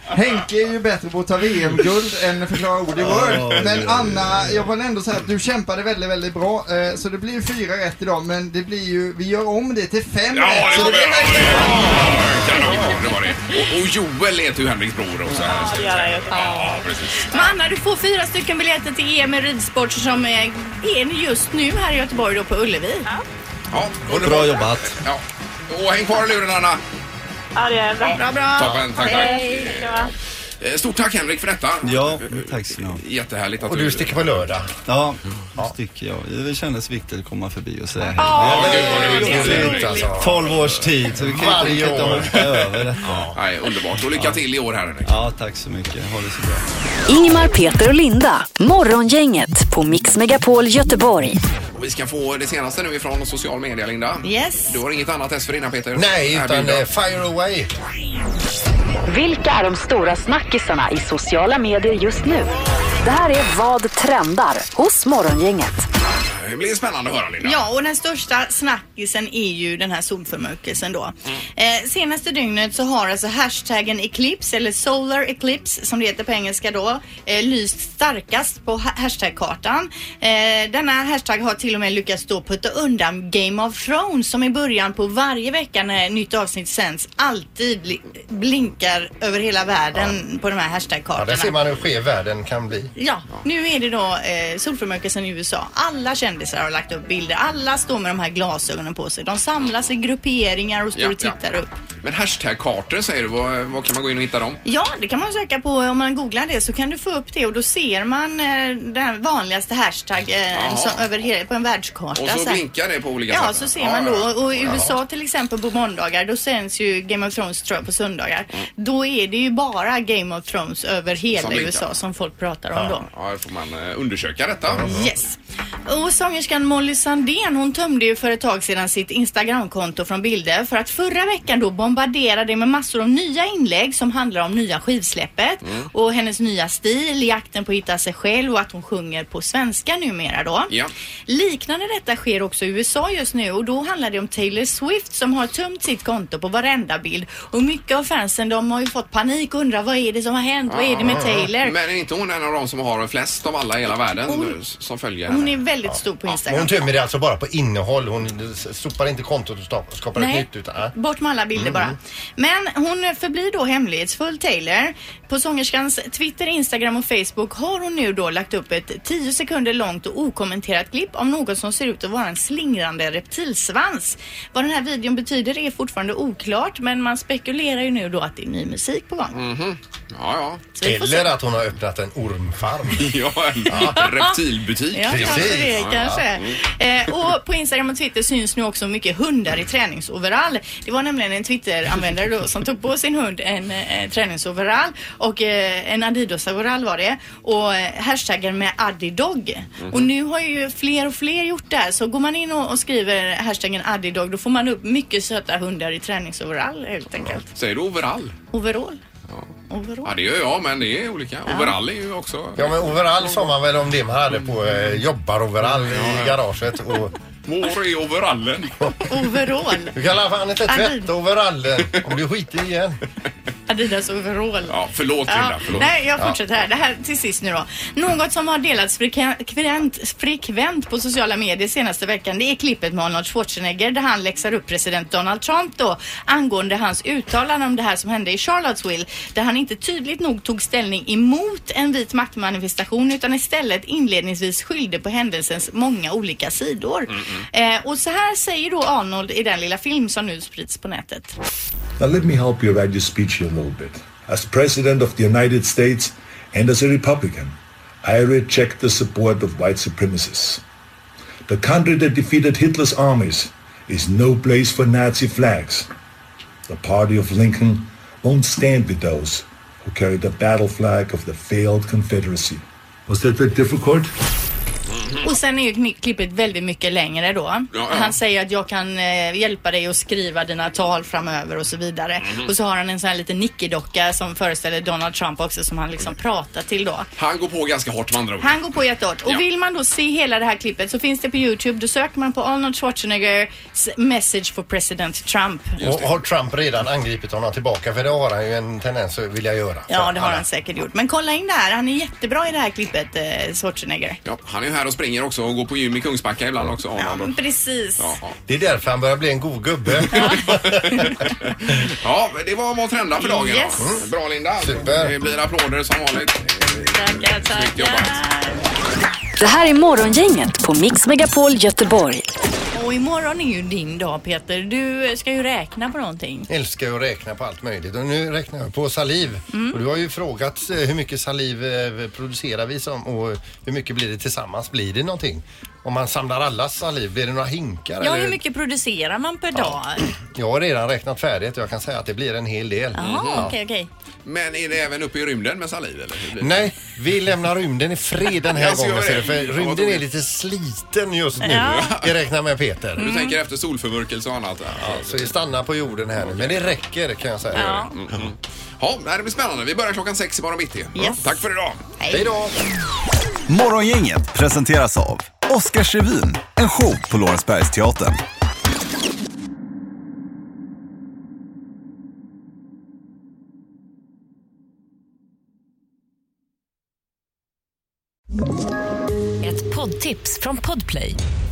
I: Henke är ju bättre på att ta VM-guld än förklara ord i Word. Men Anna, jag vill ändå säga att du kämpade väldigt, väldigt bra. Eh, så det blir ju fyra rätt idag, men det blir ju, vi gör om det till fem
A: Ja,
I: rätt.
A: det
I: Så
A: var
I: det
A: det.
I: blir
A: Ja, det var det. Kanon, det var det. Och, och Joel heter ju Henriks bror också. Ja, Ja, precis.
B: Men Anna, du får fyra stycken biljetter till EM i ridsport som är är just nu här i Göteborg då på Ullevi.
A: Ja, underbart.
K: Bra jobbat.
A: Ja. Och häng kvar i luren, Anna.
M: Ja, det är bra. Bra,
B: bra.
A: Toppen, tack, tack.
M: Hej.
A: Eh, Stort tack Henrik för detta.
K: Ja, tack ska ni ha.
A: Jättehärligt att
K: Och du sticker
A: på
C: lördag?
K: Ja, då sticker jag. Det kändes viktigt att komma förbi och säga hej.
A: Ja, men gud, vad du vill.
K: Det är
A: Alltså.
K: 12 års tid, så vi kan inte- vi kan inte hoppa över detta.
A: Nej, underbart. Och lycka till i år här Henrik.
K: Ja, tack så mycket. Ha det så bra.
D: Ingemar, Peter och Linda. Morgongänget på Mix Megapol Göteborg.
A: Och vi ska få det senaste nu ifrån social media Linda.
D: Yes.
A: Du har inget annat dessförinnan Peter?
C: Nej, utan eh,
A: Erbjuda.
C: fire away.
D: Vilka är de stora snackisarna i sociala medier just nu? Det här är Vad trendar hos Morgongänget.
A: Det blir spännande att höra Linda.
B: Ja, och den största snackisen är ju den här solförmörkelsen då. Eh, senaste dygnet så har alltså hashtaggen Eclipse, eller Solar Eclipse som det heter på engelska då, eh, lyst starkast på ha- hashtagkartan. Eh, denna hashtag har till och med lyckats då putta undan Game of Thrones som i början på varje vecka när ett nytt avsnitt sänds alltid bli- blinkar över hela världen på de här
C: Ja,
B: hashtagkartorna.
C: där ser man hur skev världen kan bli.
B: Ja, nu är det då eh, solförmörkelsen i USA. Alla kändisar har lagt upp bilder. Alla står med de här glasögonen på sig. De samlas i grupperingar och står
A: Ja,
B: och tittar
A: ja.
B: upp.
A: Men hashtag-kartor säger du, var, var kan man gå in och hitta dem?
B: Ja, det kan man söka på. Om man googlar det så kan du få upp det och då ser man eh, den vanligaste hashtag eh,
A: Jaha.
B: som, över hela, på en världskarta.
A: Och så
B: här.
A: blinkar det på olika
B: Alltså,
A: sätt.
B: Ja, så ser
A: Ja,
B: man
A: ja,
B: då. Och i
A: ja.
B: USA till exempel på måndagar, då sänds ju Game of Thrones tror jag på söndagar. Då är det ju bara Game of Thrones över hela
A: Mm. Som blinkar.
B: USA som folk pratar om då.
A: Ja, ja, då får man eh, undersöka detta. Mm.
B: Yes. Och sångerskan Molly Sandén hon tömde ju för ett tag sedan sitt Instagramkonto från bilder för att förra veckan då bombardera det med massor av nya inlägg som handlar om nya skivsläppet
O: Mm.
B: och hennes nya stil, jakten på att hitta sig själv och att hon sjunger på svenska numera då.
O: Ja.
B: Liknande detta sker också i USA just nu och då handlar det om Taylor Swift som har tömt sitt konto på varenda bild och mycket av fansen de har ju fått panik och undrar vad är det som har hänt, vad är det med
A: Ja,
B: Taylor?
A: Men är inte hon en av de som har flest av alla i hela världen
B: Hon-
A: som följer
B: Hon
A: henne?
B: är väldigt stor på Instagram.
C: Hon tömmer det alltså bara på innehåll. Hon sopar inte kontot och sta- skapar
B: Nej.
C: ett nytt. Utan, äh.
B: Bort med alla bilder
C: Mm.
B: bara. Men hon förblir då hemlighetsfull Taylor. På sångerskans Twitter, Instagram och Facebook har hon nu då lagt upp ett 10 sekunder långt och okommenterat klipp av något som ser ut att vara en slingrande reptilsvans. Vad den här videon betyder är fortfarande oklart men man spekulerar ju nu då att det är ny musik på gång.
A: Ja,
B: Så vi får se.
C: Eller att hon har öppnat en ormfarm.
A: ja, en reptilbutik.
B: Ja, kanske det, kanske.
C: Ja.
B: Eh, och på Instagram och Twitter syns nu också mycket hundar i träningsoverall. Det var nämligen en Twitter-användare då som tog på sin hund en eh, träningsoverall och eh, en Adidas-overall var det och eh, hashtaggen med Adidog.
O: Mhm.
B: Och nu har ju fler och fler gjort det här så går man in och, och skriver hashtaggen Adidog då får man upp mycket söta hundar i träningsoverall helt enkelt.
A: Säger du overall?
B: Overall. Overall.
A: Ja, det gör jag, men det är olika. Overall är ju också...
C: Ja men overall sa man väl om det man hade på eh, jobbaroverall i garaget. Och...
A: Mår i overallen.
B: Overall.
C: Du kan i alla fall inte
B: Adid-
C: tvätta overallen om du skiter i igen.
B: Adidas overall.
A: Ja, förlåt
B: Ja,
A: Linda. Förlåt.
B: Nej, jag fortsätter här. Det här till sist nu då. Något som har delats frekvent, frekvent på sociala medier senaste veckan det är klippet med Arnold Schwarzenegger där han läxar upp president Donald Trump då angående hans uttalande om det här som hände i Charlottesville där han inte tydligt nog tog ställning emot en vit maktmanifestation utan istället inledningsvis skyllde på händelsens många olika sidor. Eh, och så här säger då Arnold i den lilla film som nu sprids på nätet.
P: Now, let me help you write your speech here a little bit. As President of the United States and as a Republican, I reject the support of white supremacists. The country that defeated Hitler's armies is no place for Nazi flags. The party of Lincoln won't stand with those who carry the battle flag of the failed Confederacy. Was that that difficult?
B: Och sen är ju kni- klippet väldigt mycket längre då.
P: Ja, ja.
B: Han säger att jag kan eh, hjälpa dig att skriva dina tal framöver och så vidare.
A: Mhm.
B: Och så har han en sån här liten nickedocka som föreställer Donald Trump också som han liksom pratar till då.
A: Han går på ganska hårt med andra ord.
B: Han går på jättehårt. Och
A: Ja.
B: vill man då se hela det här klippet så finns det på Youtube. Då söker man på Arnold Schwarzeneggers message for president Trump.
C: Och har Trump redan angripit honom tillbaka? För det har han ju en tendens att vilja göra.
B: Ja, det har han säkert gjort. Men kolla in det här. Han är jättebra i det här klippet, eh, Schwarzenegger.
A: Ja, han är ju här och springer också och går på gym i Kungsbacka ibland också. Arnold.
B: men precis.
A: Ja,
C: Det är därför han börjar bli en god gubbe.
A: ja, men det var vad trenda för dagen.
C: Yes.
A: då. Mm. Bra Linda. Det blir applåder som vanligt.
B: Tackar,
A: tackar.
D: Det här är Morgongänget på Mix Megapol Göteborg.
B: Och imorgon är ju din dag Peter. Du eh, ska ju räkna på någonting.
C: Älskar ju att räkna på allt möjligt och nu räknar jag på saliv.
B: Mm.
C: Och du har ju frågat eh, hur mycket saliv eh, producerar vi som, och hur mycket blir det tillsammans? Blir det någonting? Om man samlar alla saliv, blir det några hinkar?
B: Ja,
C: eller?
B: hur mycket producerar man per dag?
C: Jag har redan räknat färdigt och jag kan säga att det blir en hel del.
B: Jaha,
C: Ja.
B: okej, okej.
A: Men är det även uppe i rymden med saliv eller? hur blir det?
C: Nej, vi lämnar rymden i fred den här
A: Jag ska
C: gången.
A: göra
C: ser du,
A: det.
C: För
A: Ja, vad
C: rymden är
A: tråkigt.
C: lite sliten just nu.
A: Ja.
C: Vi räknar med Peter.
A: Du tänker efter solförmörkelse och annat? Ja,
C: Så vi stannar på jorden här nu. Men det räcker kan jag säga.
A: Ja. Mm, mm. Ja, det här blir spännande. Vi börjar klockan sex imorgon bitti.
C: Yes.
A: Tack för idag.
C: Hej då!
K: Morgongänget presenteras av Oscarsrevyn, en show på Lorensbergsteatern.
Q: Ett poddtips från Podplay.